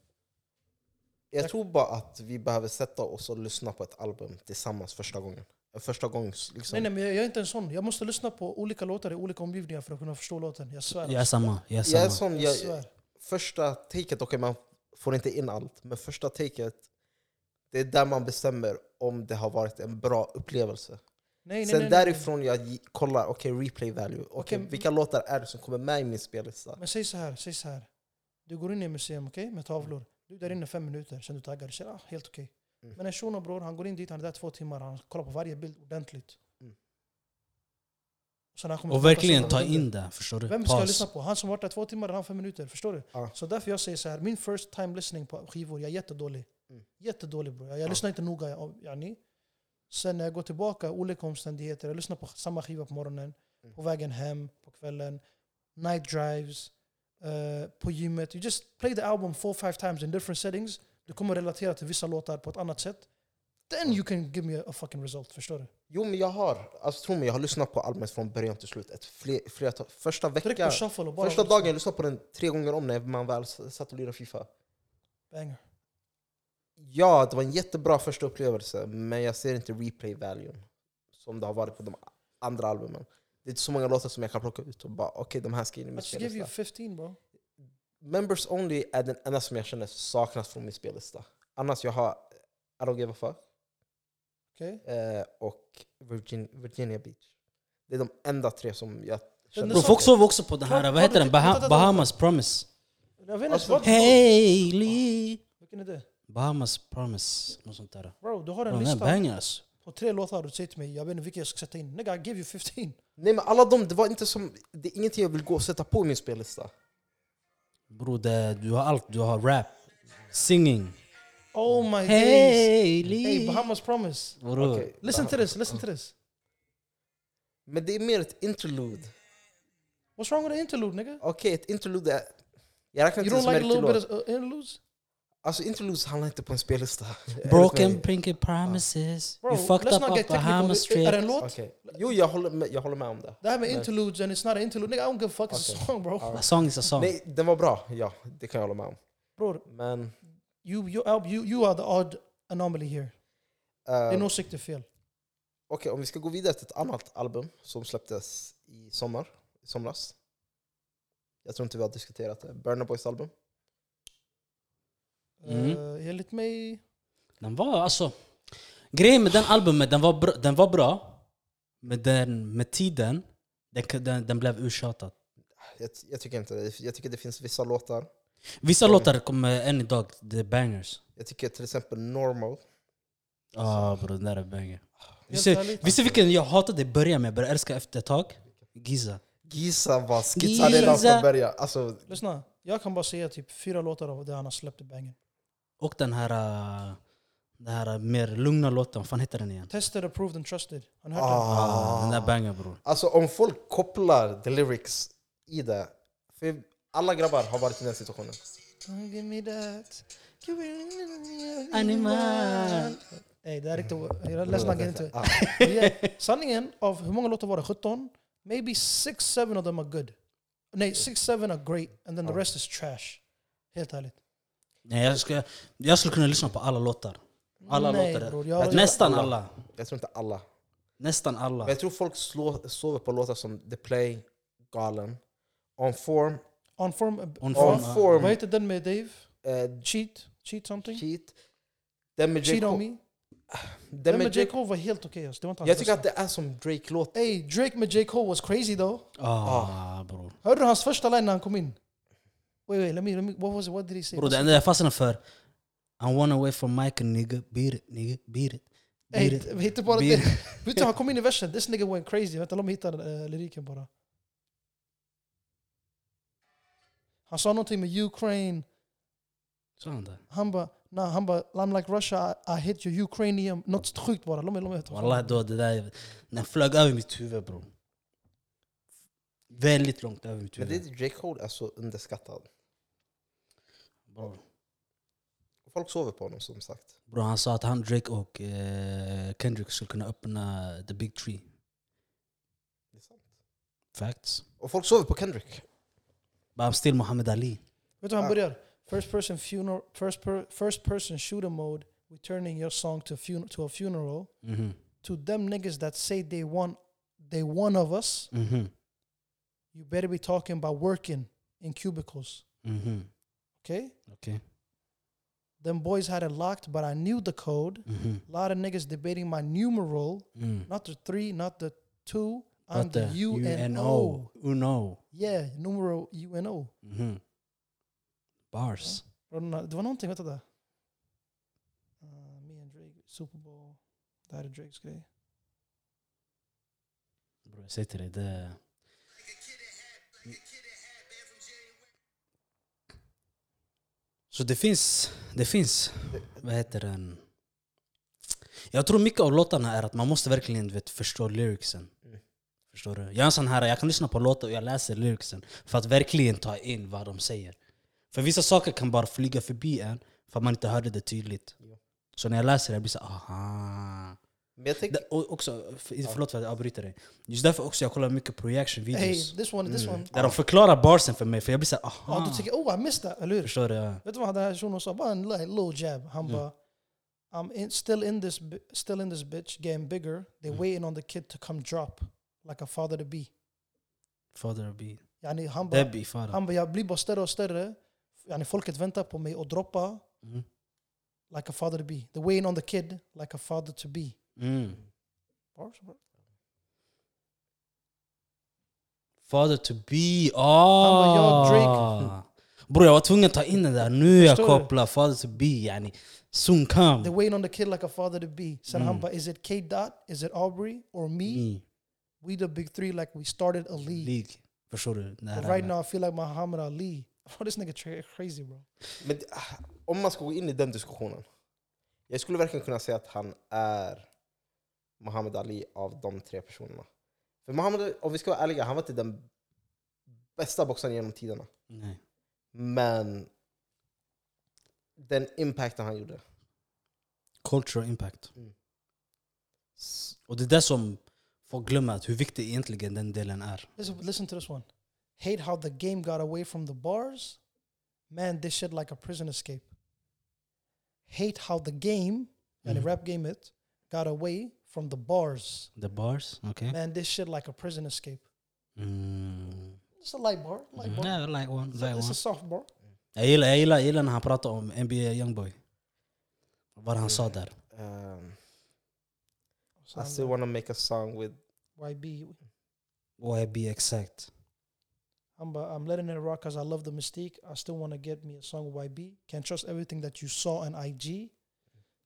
C: Jag tror bara att vi behöver sätta oss och lyssna på ett album tillsammans första gången. En Första gångs,
A: Nej,
C: liksom.
A: nej, men jag jag är inte en sån. Jag måste lyssna på olika låtar i olika omgivningar för att kunna förstå låten. Jag svär.
B: Jag är samma. Jag är
C: Jag är
B: samma.
C: sån,
A: Jag
C: jag,
A: svär.
C: första taket, okej man får inte in allt, men första taket, det är där man bestämmer om det har varit en bra upplevelse.
A: Nej, nej,
C: Sen
A: nej, nej.
C: därifrån jag gi- kollar, okej replay value. Okej,
A: Okej.
C: vilka låtar är det som kommer med i min spellista?
A: Men säg så här, säg så här. Du går in i ett museum okej, med tavlor. Du är där inne fem minuter, sen du taggar. Du säger ah, helt okej.
C: Mm.
A: Men en shuno bror, han går in dit, han är där två timmar. Han kollar på varje bild ordentligt.
C: Mm.
A: Sen han kommer
B: Och
A: tillbaka
B: verkligen
A: sen-
B: ta in det, förstår du?
A: Vem ska jag
B: Paus.
A: lyssna på? Han som varit där två timmar eller han fem minuter? Förstår du?
C: Ja.
A: Så därför jag säger så här, min first time listening på skivor, jag är jättedålig.
C: Mm.
A: Jättedålig bro. Jag, jag
C: Ja.
A: lyssnar inte noga. Jag, yani. Sen när jag går tillbaka, olika omständigheter, jag lyssnar på samma skiva på morgonen,
C: Mm.
A: på vägen hem, på kvällen, night drives, eh, på gymmet. You just play the album four, five times in different settings. Du kommer relatera till vissa låtar på ett annat sätt. Then you can give me a fucking result, förstår du?
C: Jo men jag har, alltså tro mig, jag har lyssnat på albumet från början till slut. Ett fler, flertal, första
A: Tryck
C: veckan,
A: på shuffle och bara...
C: första dagen jag lyssnade på den tre gånger om när man väl s- satt och lirade Fifa.
A: Banger.
C: Ja, det var en jättebra första upplevelse, men jag ser inte replay value som det har varit på de andra albumen. Det är inte så många låtar som jag kan plocka ut och bara okej, de här ska in
A: I
C: i min
A: just give you
C: spellista.
A: 15 bro.
C: Members Only är den enda som jag känner saknas från min spellista. Annars jag har I don't give a fuck
A: Okej?
C: eh, och Virgin, Virginia Beach. Det är de enda tre som jag känner.
B: Bro,
A: sa-
B: folk sov också på den här,
A: Har-
B: vad heter
A: har
B: den?
A: du-
B: Baha- Bahamas promise.
A: Jag vet
C: Alltså,
A: inte. vad-
B: Hailey.
A: Vilken är det?
B: Bahamas promise, något sånt där.
A: Bro, du har en
B: Den här
A: lista
B: banger alltså.
A: på tre låtar du säger till mig, jag vet inte vilka jag ska sätta in. Nigga, I give you 15.
C: Nej men alla de, det var inte som, det är ingenting jag vill gå och sätta på min spellista.
B: Bro, det, du har allt. Du har rap, singing.
A: Oh my days. Hey,
B: Hailey.
A: Bahamas promise.
B: Bro,
C: Okej.
A: Listen to this, listen to this.
C: Men det är mer ett interlude.
A: What's wrong with an interlude nigga?
C: Okej, ett interlude är... Jag räknar
A: You
C: inte
A: don't
C: ens med
A: like a
C: riktig
A: little bit
C: låt.
A: of uh, interludes?
C: Alltså interludes handlar inte på en spellista.
B: Broken Pinky promises.
A: Bro,
B: You fucked
A: let's
B: up
A: not
B: on
A: get
B: Bahamas
A: technical. Är det en
B: trip.
A: låt?
C: Okej. Jo, jag håller, med, jag håller med om det.
A: Det här med
C: Nej.
A: interludes and it's not an interlude. Nigga, I don't give a fuck, it's a
C: Okej.
A: song bro.
B: A song is a song.
C: Nej, den var bra. Ja, det kan jag hålla med om.
A: Bror,
C: Men...
A: you, you, Alb, you, you are the odd anomaly here.
C: eh,
A: Din åsikt är fel.
C: Okej, om vi ska gå vidare till ett annat album som släpptes i sommar, i somras. Jag tror inte vi har diskuterat det. Burna Boys album.
B: Mm.
A: Uh, enligt mig...
B: Den var alltså... Grejen med den albumet, den var bra, den var bra men den, med tiden, den, den, den blev uttjatad.
C: Jag, jag tycker inte det. Jag tycker det finns vissa låtar.
B: Vissa
C: Mm.
B: låtar kommer än idag, det är bangers.
C: Jag tycker till exempel Normal.
B: Ja bro, den där är banger.
A: Helt
B: Visst är-
A: ärligt.
B: visst är vilken jag hatade i början men jag började älska efter ett tag? Giza.
C: Giza var skitsad redan
B: Giza.
C: från början. Alltså,
A: Lyssna, jag kan bara säga typ fyra låtar av det han har släppt i bangen.
B: Och den här, äh, den här mer lugna låten, vad fan heter den igen?
A: Tested, approved and trusted. Har ni hört den?
B: Ah, den
C: ah.
B: där banger bror.
C: Alltså om folk kopplar the lyrics i det. För alla grabbar har varit i den situationen.
A: Don't give me that.
B: Animal.
A: Ey, det är riktigt... Jag läste den inte.
C: Ah,
A: Yeah. Sanningen av hur många låtar var det? 17? Maybe six, seven of them are good. Nej, six, seven are great. And then the
C: Ja.
A: rest is trash. Helt ärligt.
B: Nej, jag, skulle, jag skulle kunna lyssna på alla låtar. Alla
A: Nej,
B: låtar.
A: bror, jag-
B: Nästan
C: alla.
B: alla.
C: jag tror inte alla.
B: Nästan alla.
C: Men jag tror folk slår, sover på låtar som The Play, Galen, On Form,
A: On form... uh,
B: On
C: On
B: form, ja.
C: Form,
A: Vad heter den med Dave?
C: eh,
A: Cheat? Cheat something?
C: Cheat. Den med J.
A: Cheat on
C: Cole.
A: me?
C: Den
A: Den
C: med
A: med
C: J.
A: J.
C: Cole.
A: Cole var helt okej. alltså. Det var inte hans
C: Jag tycker
A: bästa.
C: att det är som Drake-låt.
A: Ey, Drake med J. Cole was crazy though.
B: Ah, bror.
A: Hörde du hans första line när han kom in? Wait, wait, let me, let me what was it, what did he say?
B: Bror, det enda jag fastnade för... I wanna away from Mike nigga, beat it, nigga, beat it. Beat
A: Ey,
B: it.
A: vi hittar bara
B: Beer.
A: det. Utan han kom in i versen, this nigga went crazy. Vänta, låt mig hitta eh, lyriken bara. Han sa någonting med Ukraine.
B: Så han där.
A: Han bara, nah, han bara, I'm like Russia, I, I hit you Ukrainian. Något sjukt bara. Låt mig, låt mig hitta.
B: Wallah, då det där... Den flög över mitt huvud bror. Väldigt långt över mitt
C: Men det
B: huvud.
C: J. Cole är så underskattad.
B: Bror,
C: Folk sover på honom som sagt.
B: bror han sa att han, Drake och eh, Kendrick skulle kunna öppna the big tree.
C: Det är sant.
B: Facts.
C: Och folk sover på Kendrick.
B: But I'm still Muhammad Ali.
A: Vet du hur han
C: Ah.
A: börjar? First person funeral, first, per, first person shooter mode, returning your song to, fun- to a funeral.
B: Mhm.
A: To them niggas that say they want, they one of us.
B: Mhm.
A: you better be
B: Mm-hmm.
A: talking about working in cubicles.
B: Mhm.
A: Okay?
B: Okej.
A: Them boys had it locked, but I knew the code.
B: Mhm.
A: A lot of niggas debating my numeral,
B: Mm.
A: not the three, not the two. I'm
B: But
A: the
B: the
A: UNO.
B: Uno.
A: Yeah, numeral UNO.
B: Mhm. Bars.
A: Och den här- Det var någonting, vänta där. Uh, me and Drake, Super Bowl. Det här är Drakes grej.
B: Bro, jag säger till dig, det... Så det finns, det finns, vad heter den? Jag tror mycket av låtarna är att man måste verkligen du vet, förstå lyricsen.
C: Mm.
B: Förstår du? Jag är en sån här, jag kan lyssna på låtar och jag läser lyricsen för att verkligen ta in vad de säger. För vissa saker kan bara flyga förbi en för att man inte hörde det tydligt.
C: Ja.
B: Så när jag läser det jag blir så aha.
C: Men jag tänker,
B: Det- Och också, för- förlåt för att jag avbryter dig. Just därför också jag kollar mycket på reaction
A: Hey,
B: videos.
A: this one, this one.
B: Där de förklarar barsen för mig, för jag blir såhär
A: Ja,
B: aha.
A: du tänker oh I missed that, eller hur?
B: Förstår du? Ja.
A: Vet du vad den här shunon sa? Bara en li- little jab. Han bara I'm in, still, in this, bi- still in this bitch, getting bigger. They're waiting on the kid to come drop. Like a father to be.
B: Father of B.
A: Yani, han bara,
B: Debbie, father.
A: han bara, jag blir bara större och större. Yani, folket väntar på mig och droppa
B: Mm.
A: like a father to be. They're waiting on the kid like a father to be.
B: Mm.
A: Bars, bro.
B: Father to be.
A: bara, jag,
B: Ah.
A: Drake.
B: Bror jag var tvungen att ta in den där, nu jag
A: Förstår du?
B: kopplar. Father to be yani. Soon
A: They're
B: come.
A: waiting on the kid like a father to be. Sen
B: Mm.
A: han bara, is it K. Dot? Is it Aubrey? Or me?
B: Me.
A: We the big three like we started a league.
B: Mm. League. Förstår du? Det här
A: But right now I feel like Muhammad Ali. Bro, this nigga tra- crazy bro.
C: men, det- ah, om man ska gå in i den diskussionen. Jag skulle verkligen kunna säga att han är Muhammad Ali av de tre personerna. För Muhammad, Ali, om vi ska vara ärliga, han var inte den bästa boxaren genom tiderna.
B: Nej.
C: Men den impacten han gjorde.
B: Cultural impact.
C: Mm.
B: S- Och det är det som folk glömmer, att hur viktig egentligen den delen är.
A: Listen, listen to this one. Hate how the game got away from the bars. Man, this shit like a prison escape. Hate how the game, and the
B: Mhm.
A: rap game it, got away from the bars.
B: The bars, okej?
A: Man, this shit like a prison escape.
B: Mm.
A: It's a light bar. Light bar.
B: Yeah, like one,
A: It's,
B: like
A: a, it's
B: Mm-hmm. one.
A: a soft bar.
B: Jag gillar, jag, gillar, jag gillar när han pratar om NBA Youngboy. Vad han sa där.
C: Um, I
A: Sound
C: still
A: like
C: wanna make a song with...
A: YB.
B: YB exakt.
A: I'm, uh, I'm letting it rock because I love the mystique. I still want to get me a song with YB. Can't trust everything that you saw on IG.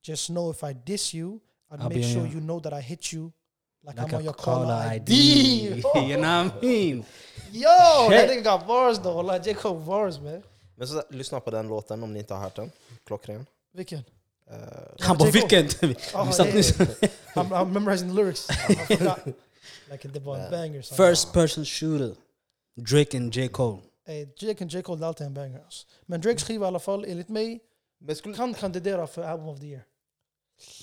A: Just know if I diss you, I'd
B: I'll
A: make
B: be on
A: sure
B: your-
A: you know that I hit you like,
B: Like
A: I'm on
B: a
A: your
B: caller
A: caller Oh.
B: ID.
A: ID.
B: you know what I mean?
A: Yo,
B: Shit.
A: that nigga got bars though. Like Jacob bars man.
C: Men så, lyssna på den låten om ni inte har hört den. Klockren.
A: Vilken?
C: Eh,
B: Han bara
A: Jacob.
B: vilken...
A: Oh,
B: Vi satt nyss.
A: yeah, yeah. I'm, I'm memorizing the lyrics. I forgot. Like the
C: Yeah.
A: band banger. song.
B: First person shooter. Drake and J. Cole.
A: Hey, Jake and J. Cole det är alltid en banger. alltså. Men Drake skriver i alla fall, enligt mig,
C: men skulle,
A: kan kandidera för album of the year.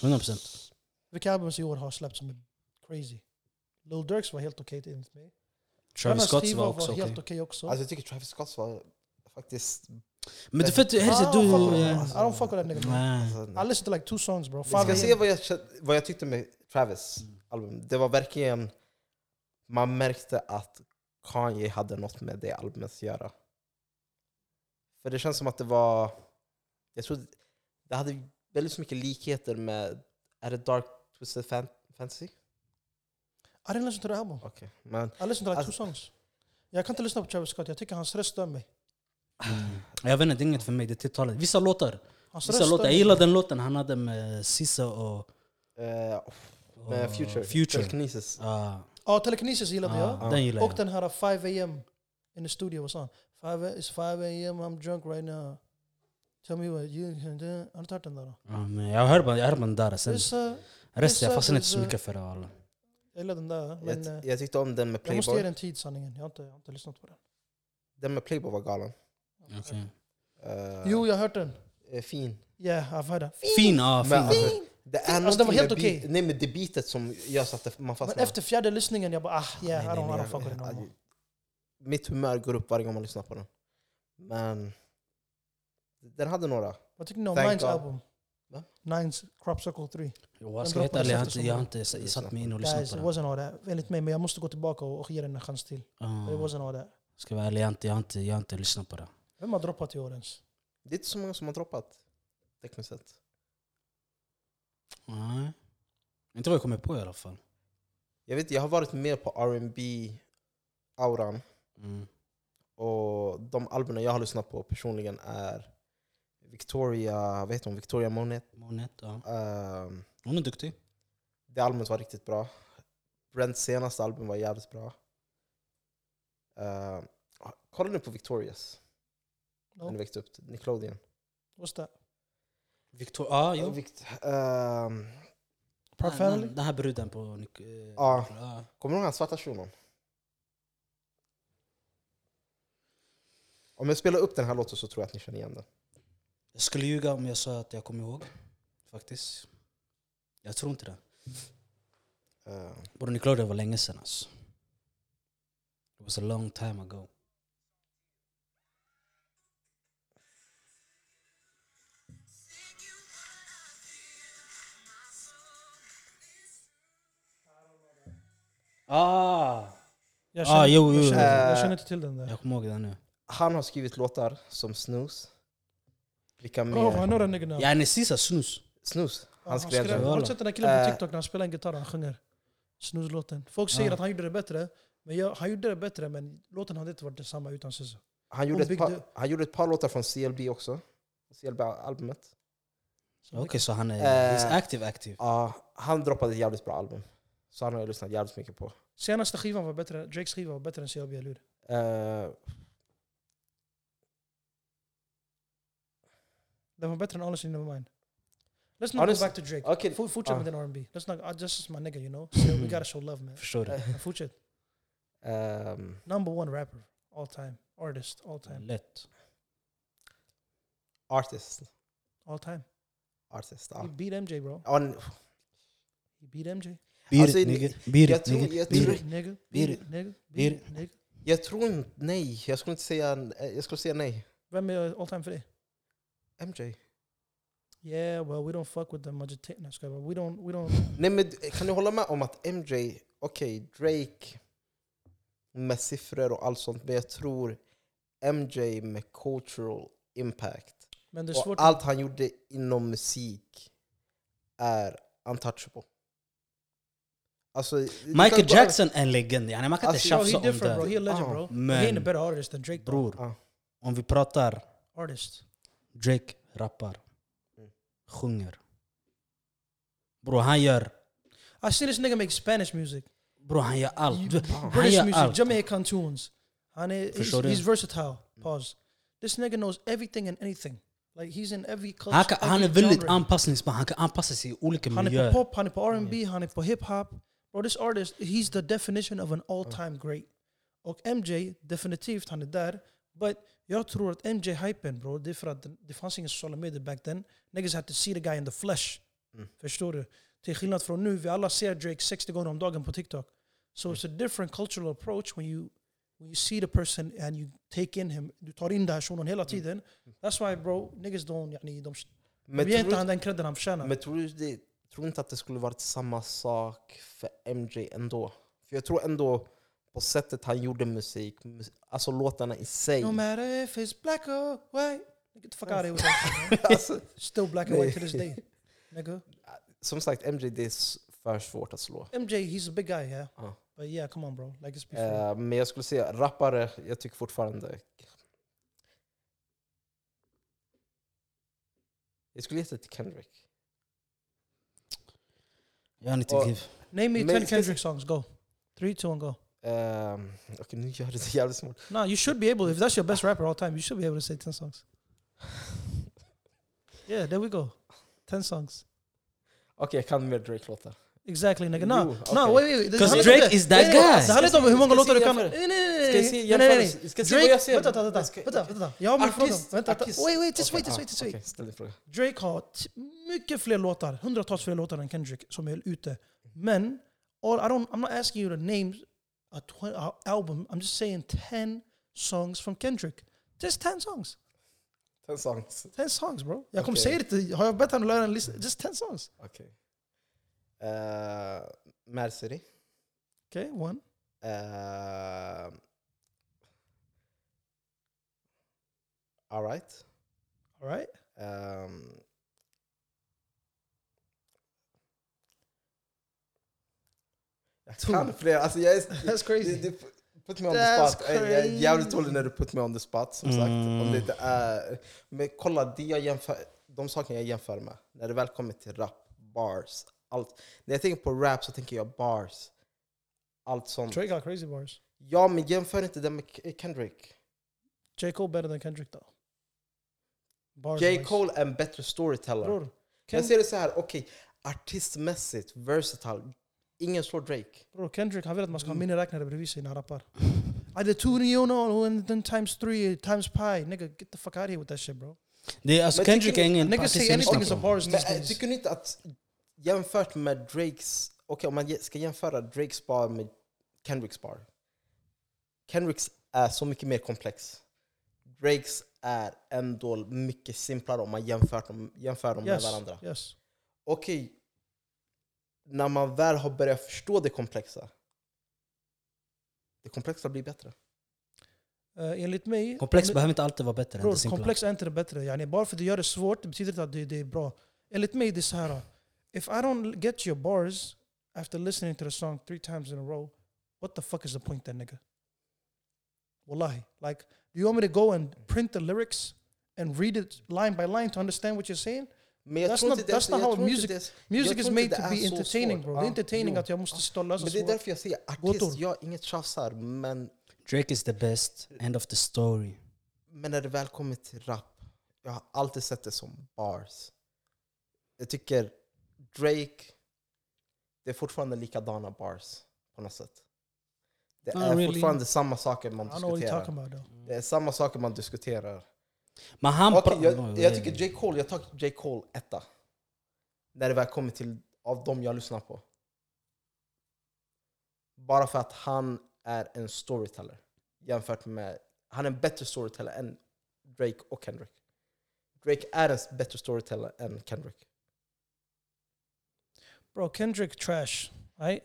B: 100%.
A: Vilka album i år har släppts som är crazy? Lil Durks var helt okej enligt mig.
B: Travis
A: Dennis
B: Scott
A: Steve
B: var också okej.
A: helt okej också.
C: alltså, jag tycker Travis Scott var faktiskt...
B: Men du får inte...
A: I don't
B: Hälsa du...
A: Ah, fuck with-
B: ja.
A: I don't fuck with that nigga. bro.
B: Nej.
C: Alltså,
A: I listened to like two songs bro.
C: Vi ska
A: Five
C: se
A: AM.
C: vad jag, kä- vad jag tyckte med Travis album. Det var verkligen... Man märkte att Kanye hade något med det albumet att göra. För det känns som att det var... Jag tror det hade väldigt mycket likheter med... Är det Dark Twisted Fan- Fantasy?
A: I didn't listen to the album.
C: Okej. Men
A: I listened to like two
C: Alltså-
A: songs. Jag kan inte lyssna på Travis Scott, jag tycker hans röst stör mig.
B: Jag vet inte, det är inget för mig. Det är tilltalet. Vissa låtar.
A: Hans
B: Vissa
A: röst stör
B: låtar. Jag
A: mig.
B: gillar den låten han hade med Sissa och...
C: eh,
A: Uh,
B: och
A: Ah,
C: med Future.
B: Future.
C: Telekinesis.
B: Ah,
A: Ja, Telekinesis gillade jag.
B: ah, den gillar
A: Och
B: jag.
A: den här 5 AM in the studio, vad sa han? Five- It's 5 AM, I'm drunk right now. Tell me what you can do. Har du inte hört den där då?
B: Ja, men jag hör bara, jag hör bara den där. Sen,
A: It's, uh,
B: resten, jag
A: vissa-
B: fastnar inte så
A: vissa-
B: mycket för det. alla.
A: Jag gillar den där, men eh,
C: Jag, jag tyckte om den med
A: jag måste ge
C: Playboy.
A: den tid sanningen. Jag har inte, jag har inte lyssnat på den.
C: Den med Playboy var galen.
B: Okej.
C: Eh,
A: Jo, jag har hört den.
C: eh, Fin.
A: Yeah, I've heard that.
B: Fin, ja. Fin.
C: Men alltså, det är
A: Alltså, den var
C: någonting
A: helt
C: med beat-
A: okej.
C: Nej men det beatet som gör så att det- man
A: Men
C: fastnar.
A: efter fjärde lyssningen, jag bara ah, yeah,
C: Nej,
A: I
C: nej,
A: don't, I
C: nej,
A: don't fuck with it no
C: jag-
A: more.
C: Mitt humör går upp varje gång man lyssnar på den. Men den hade några.
A: Vad tycker ni om
C: Thank
A: Nines
C: God.
A: album?
C: Va?
A: Nines Crop Circle 3.
B: Jo, jag ska vara helt ärlig, jag har inte, jag har inte s- satt mig in och lyssnat
A: Guys,
B: på
A: it
B: den.
A: wasn't all that. Enligt mig, men jag måste gå tillbaka och, och ge den en chans till. But It
B: Ah,
A: wasn't all that.
B: Ska vara ärlig, jag har inte, jag har inte, jag har inte lyssnat på den.
A: Vem har droppat i år ens?
C: Det är inte så många som har droppat. tekniskt sett.
B: Nej. Inte vad jag kommer på i alla fall.
C: Jag vet jag har varit mer på R&B auran
B: Mm.
C: och de albumen jag har lyssnat på personligen är Victoria, vad heter hon? Victoria Monet.
B: Monet, ja.
C: Ehm,
B: Hon är duktig.
C: det albumet var riktigt bra. Brents senaste album var jävligt bra. Ehm, kolla nu på Victorias, när ni
A: Ja.
C: växte upp, Nickelodeon.
A: What's that?
B: Victor, ja,
C: Ja,
B: jo.
C: Vict- ehm,
A: Proud
B: Den-
A: Family?
B: Den, den här bruden på... Nick- eh,
C: Ja.
B: ja.
C: kommer du ihåg den svarta shunon? Om jag spelar upp den här låten så tror jag att ni känner igen den.
B: Jag skulle ljuga om jag sa att jag kommer ihåg. Faktiskt. Jag tror inte det.
C: Ehm,
B: Bror, ni klarade det var länge sedan alltså. It was a long time ago. Ah,
A: Jag
B: Ah, jo, jo,
A: jag, känner,
C: jo.
A: jag känner inte till den där.
B: jag kommer ihåg den nu.
C: han har skrivit låtar som Snus. Vilka mer?
A: Oh, I know that nigga now.
B: Yani sisa snus.
C: Snus.
A: Ja, han
C: Han skrev
A: skrev.
C: den.
A: Har du
B: Walla.
A: sett den där killen på
C: Eh.
A: TikTok när han spelar en gitarr och han sjunger Snuslåten? Folk säger
B: Ja.
A: att han gjorde det bättre, men jag, han gjorde det bättre men låten hade inte varit densamma utan SZA.
C: Han gjorde,
A: Hon
C: ett par,
A: byggde-
C: han gjorde ett par låtar från CLB också. CLB-albumet.
B: Okej, så han är
C: Eh.
B: he's active active.
C: Ja, han droppade ett jävligt bra album. Så han har jag lyssnat jävligt mycket på.
A: Senaste skivan var bättre, Drakes skiva var bättre än CLB, eller hur?
C: Eh,
A: Den var bättre än Honestly Never Mind. Let's
C: Ja,
A: not
C: det
A: go
C: är
A: back to Drake.
C: Okej,
A: F- fortsätt
C: ah.
A: med din R&B. Let's not, ah, this is my nigga you know. So we gotta show love man.
B: Förstår du?
A: Men Fortsätt.
C: ehm,
A: Number one rapper, all time. Artist, all time.
B: Lätt.
C: Alltså, artist.
A: All time.
C: Artist,
A: He
C: ja.
A: beat MJ bro.
C: Ja, n-
A: He beat MJ.
B: Beat
C: Alltså,
B: it
C: ni-
B: nigga. Beat
C: jag
B: it
C: tror-
B: nigga.
C: jag
B: Beat
C: tror-
B: it.
A: Nigga,
B: Beat
A: beat
B: it.
A: it, nigga,
B: Beat
A: beat it, nigga.
C: jag tror inte... Nej, jag skulle inte säga... eh, Jag skulle säga nej.
A: Vem är uh, all time för dig?
C: MJ.
A: Yeah, well, we don't fuck with the Majitina. We don't, we don't.
C: Nej, men du- kan du hålla med om att MJ... Okej, Drake med siffror och allt sånt, men jag tror MJ med cultural impact
A: Men det är
C: Och
A: svårt.
C: allt han gjorde inom musik är untouchable. Alltså, du kan
B: Michael
C: inte-
B: Jackson är en legend. Yani man kan inte
C: Alltså, jag-
A: bro,
B: tjafsa
A: he
B: om
A: different, bro. He
B: det.
A: a legend,
C: Ah,
A: bro.
B: men-
A: He ain't a better artist than Drake, bro.
B: Bror,
C: Ja.
B: om vi pratar
A: Artist.
B: Drake rappar,
C: Mm.
B: sjunger. Bror han gör,
A: I see this nigga make Spanish music,
B: bror han gör allt. Du- Han
A: British
B: gör
A: music,
B: allt.
A: Jamaican tunes. And he- he's,
B: Förstår du?
A: he's versatile. Pause. This nigga knows everything and anything. Like he's in every culture.
B: Han, kan, han är
A: every
B: väldigt
A: genre.
B: anpassningsbar, han kan anpassa sig i olika
A: Han är på
B: miljöer.
A: pop, han är på R&B, han är på hiphop. Bro, this artist, he's the definition of an all time great. Och MJ, definitivt, han är där. But jag tror att MJ-hypen bro, det är för att det- det fanns inga sociala medier back then. Niggas had to see the guy in the flesh.
C: Mm.
A: Förstår du? Till skillnad från nu, vi alla ser Drake 60 gånger om dagen på TikTok. So it's a different cultural approach when you when you see the person and you take in him. Du tar in den här shunon hela tiden. That's why bro, niggas don't, yani, de,
C: Men
A: de ger
C: tror
A: inte han
C: du-
A: den credden han förtjänar.
C: men tror du det- tror du inte att det skulle varit samma sak för MJ ändå? För jag tror ändå på sättet han gjorde musik, mus- alltså låtarna i sig.
A: No matter if it's black or white. Get the fuck out of here with that. shit, man.
C: alltså,
A: Still black and
C: Nej.
A: white to this day. Nigga.
C: som sagt, MJ det är s- för svårt att slå.
A: MJ, he's a big guy, yeah.
C: Ja.
A: But yeah, come on bro. Like it's before.
C: Eh, men jag skulle säga rappare, jag tycker fortfarande... Jag skulle ge det till Kendrick.
B: Jag har inte
C: och-
B: give.
A: Name me
C: men
A: 10
C: ska-
A: Kendrick songs. Go. Three, two, and go.
C: Um, Okej, nu gör jag det så jävligt svårt.
A: Nah, you should be able, if that's your best rapper all time, you should be able to say 10 songs. Yeah, there we go. 10 songs.
C: Okej, jag kan mer Drake-låtar.
A: Exactly nigga. Nah,
C: Jo,
A: nah,
C: okej.
A: wait, wait. det
B: 'Cause
A: handlar inte-
B: Drake is that
A: Nej, nej,
B: guy.
A: Det handlar inte om hur många
C: Ska jag
A: låtar du
C: se
A: kan...
C: jämförelse?
A: Nej, nej, nej,
C: Ska jag se
A: nej, nej, nej, nej.
C: jämförelse? Ska jag se vad
A: Drake,
C: jag ser?
A: vänta, vänta,
C: Ska-
A: vänta, vänta, vänta. Jag har min fråga.
C: Artist,
A: Vänta, vänta.
C: artist.
A: Wait, wait, just
C: Okej,
A: wait, just
C: ah,
A: wait, just wait.
C: okej, ställ din fråga.
A: Drake har t- mycket fler låtar, hundratals fler låtar än Kendrick som är ute. Men, all, I don't, I'm not asking you to name a, tw- a album, I'm just saying 10 songs from Kendrick. Just 10 songs.
C: Ten songs.
A: 10 songs bro. Jag kommer
C: Okej.
A: säga det till har jag bett honom lära en lista? Just 10 songs.
C: Okej. Eh, Mad City.
A: Okej, okay, one.
C: Eh, Alright.
A: Alright.
C: Um, kan fler. Alltså jag är,
A: That's crazy.
C: du, du put me on the
A: That's
C: spot. Jag är jävligt
A: crazy.
C: dålig när du put me on the spot. Som sagt. Om det inte är, men kolla, det jag jämför, de sakerna jag jämför med, när det väl kommer till rap, bars, allt. När jag tänker på rap så tänker jag bars. Allt sånt.
A: Drake har crazy bars.
C: Ja, men jämför inte det med K- Kendrick.
A: J. Cole better than Kendrick though. Bars
C: J.
A: wise.
C: Cole är en bättre storyteller.
A: Bror,
C: Jag
A: Ken-
C: ser det så här, okej, artistmässigt, versatile. Ingen slår Drake.
A: bror, Kendrick han vill att man ska ha miniräknare bredvid sig när han rappar. I did two you know, and then nou, times three, times pi. Nigga, get the fuck out of here with that shit bro.
B: Det är, alltså
C: Men
B: Kendrick
C: tycker
B: är
C: ni-
B: ingen
A: Niggas
B: artist
A: say
B: jag
A: anything is a
B: lyssnar på.
A: bars
C: Men
A: these
C: äh,
A: days.
C: tycker ni inte att jämfört med Drakes, okej om man ge- ska jämföra Drakes bar med Kendricks bar. Kendricks är så mycket mer komplex. Drakes är ändå mycket simplare om man jämför dem, jämför dem
A: Yes,
C: med varandra.
A: yes.
C: Okej, när man väl har börjat förstå det komplexa, det komplexa blir bättre.
A: Uh, enligt mig...
B: Komplex
A: enligt-
B: behöver inte alltid vara bättre än det
A: Bror,
B: simpla.
A: komplex är inte det bättre. Yani, bara för att du gör det svårt det betyder inte att det, det är bra. Enligt mig det är så här. If I don't get your bars after listening to the song three times in a row, what the fuck is the point then nigga? Wallahi. Like, do you want me to go and print the lyrics and read it line by line to understand what you're saying?
C: Men jag
A: That's
C: tror
A: not-
C: inte det-
A: that's not
C: jag
A: how
C: tror inte
A: music-
C: det är-
A: Music
C: Jag
A: is
C: tror inte
A: made to
C: det är
A: be
C: så
A: entertaining
C: svårt.
A: bro. Det är
C: Ja,
A: entertaining
C: jo.
A: att jag måste stå och lösa
C: Men det är
A: svårt.
C: därför jag säger artist,
A: Gåtor.
C: jag är inget tjafsar, men
B: Drake is the best, end of the story.
C: Men när det väl kommer till rap, jag har alltid sett det som bars. Jag tycker Drake, det är fortfarande likadana bars på något sätt. Det
B: Not
C: är
B: really.
C: fortfarande samma saker
A: Ah, I
C: man
A: don't know what you're talking
C: diskuterar.
A: about though.
C: Det är samma saker man diskuterar.
B: Men han...
C: Okej,
B: pra-
C: jag, jag tycker J. Cole, jag tar J. Cole etta. När det väl kommer till av dem jag lyssnar på. Bara för att han är en storyteller. Jämfört med, han är en bättre storyteller än Drake och Kendrick. Drake är en bättre storyteller än Kendrick.
A: Bro, Kendrick trash. Right?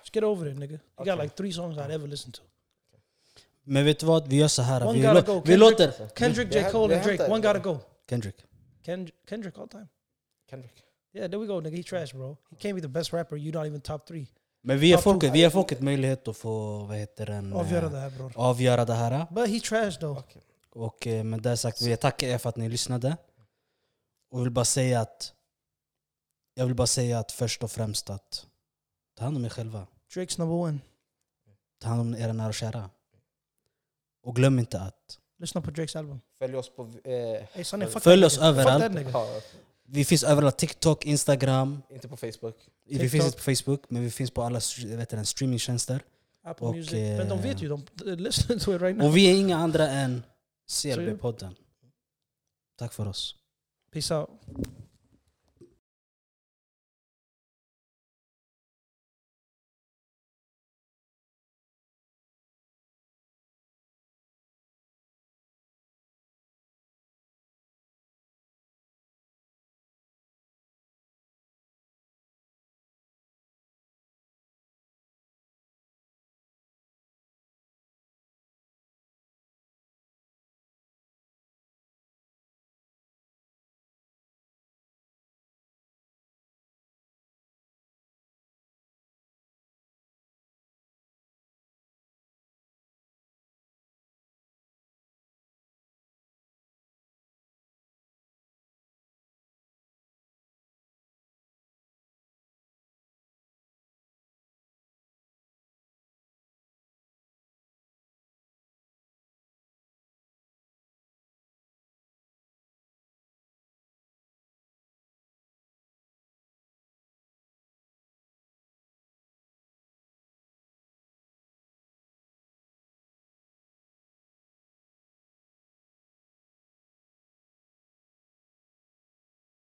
A: Just get over it nigga. You
C: Okay.
A: got like three songs I'd ever listen to.
B: Men vet du vad? Vi gör så här.
A: One
B: Vi,
A: gotta
B: lå-
A: go,
B: vi
A: Kendrick.
B: låter...
A: Kendrick,
C: Det
A: J.
C: här-
A: Cole
C: det
A: and
C: här
A: Drake.
C: tar-
A: One gotta go.
B: Kendrick.
A: Kend- Kendrick all time.
C: Kendrick.
A: Yeah, there we go, nigga. He trash, bro. He can't be the best rapper. You're not even top three.
B: Men vi ger
A: Jag tror-
B: folket, vi ger folket möjlighet att få, vad heter den,
A: Avgöra
B: eh,
A: det här, bror.
B: avgöra det här.
A: Oh, But he trash though.
C: Okej.
B: Och eh, med det sagt, vi tackar er för att ni lyssnade. Och vill bara säga att, jag vill bara säga att först och främst att ta hand om er själva.
A: Drake's number one.
B: Ta hand om era nära och kära. Och glöm inte att
A: Lyssna på Drake's album.
C: Följ oss på... Eh,
A: Hey, sonny, fuck
B: Följ
A: that
B: oss
A: nigga.
B: överallt.
A: Fuck that nigga.
C: ja,
B: vi finns överallt, TikTok, Instagram,
C: inte på Facebook.
B: vi finns inte
A: TikTok.
B: på Facebook, men vi finns på alla vad heter den, streamingtjänster.
A: Apple
B: Och,
A: Music.
B: eh,
A: Men de vet ju, de de- listen to it right now.
B: Och vi är inga andra än CLB-podden. Tack för oss.
A: Peace out.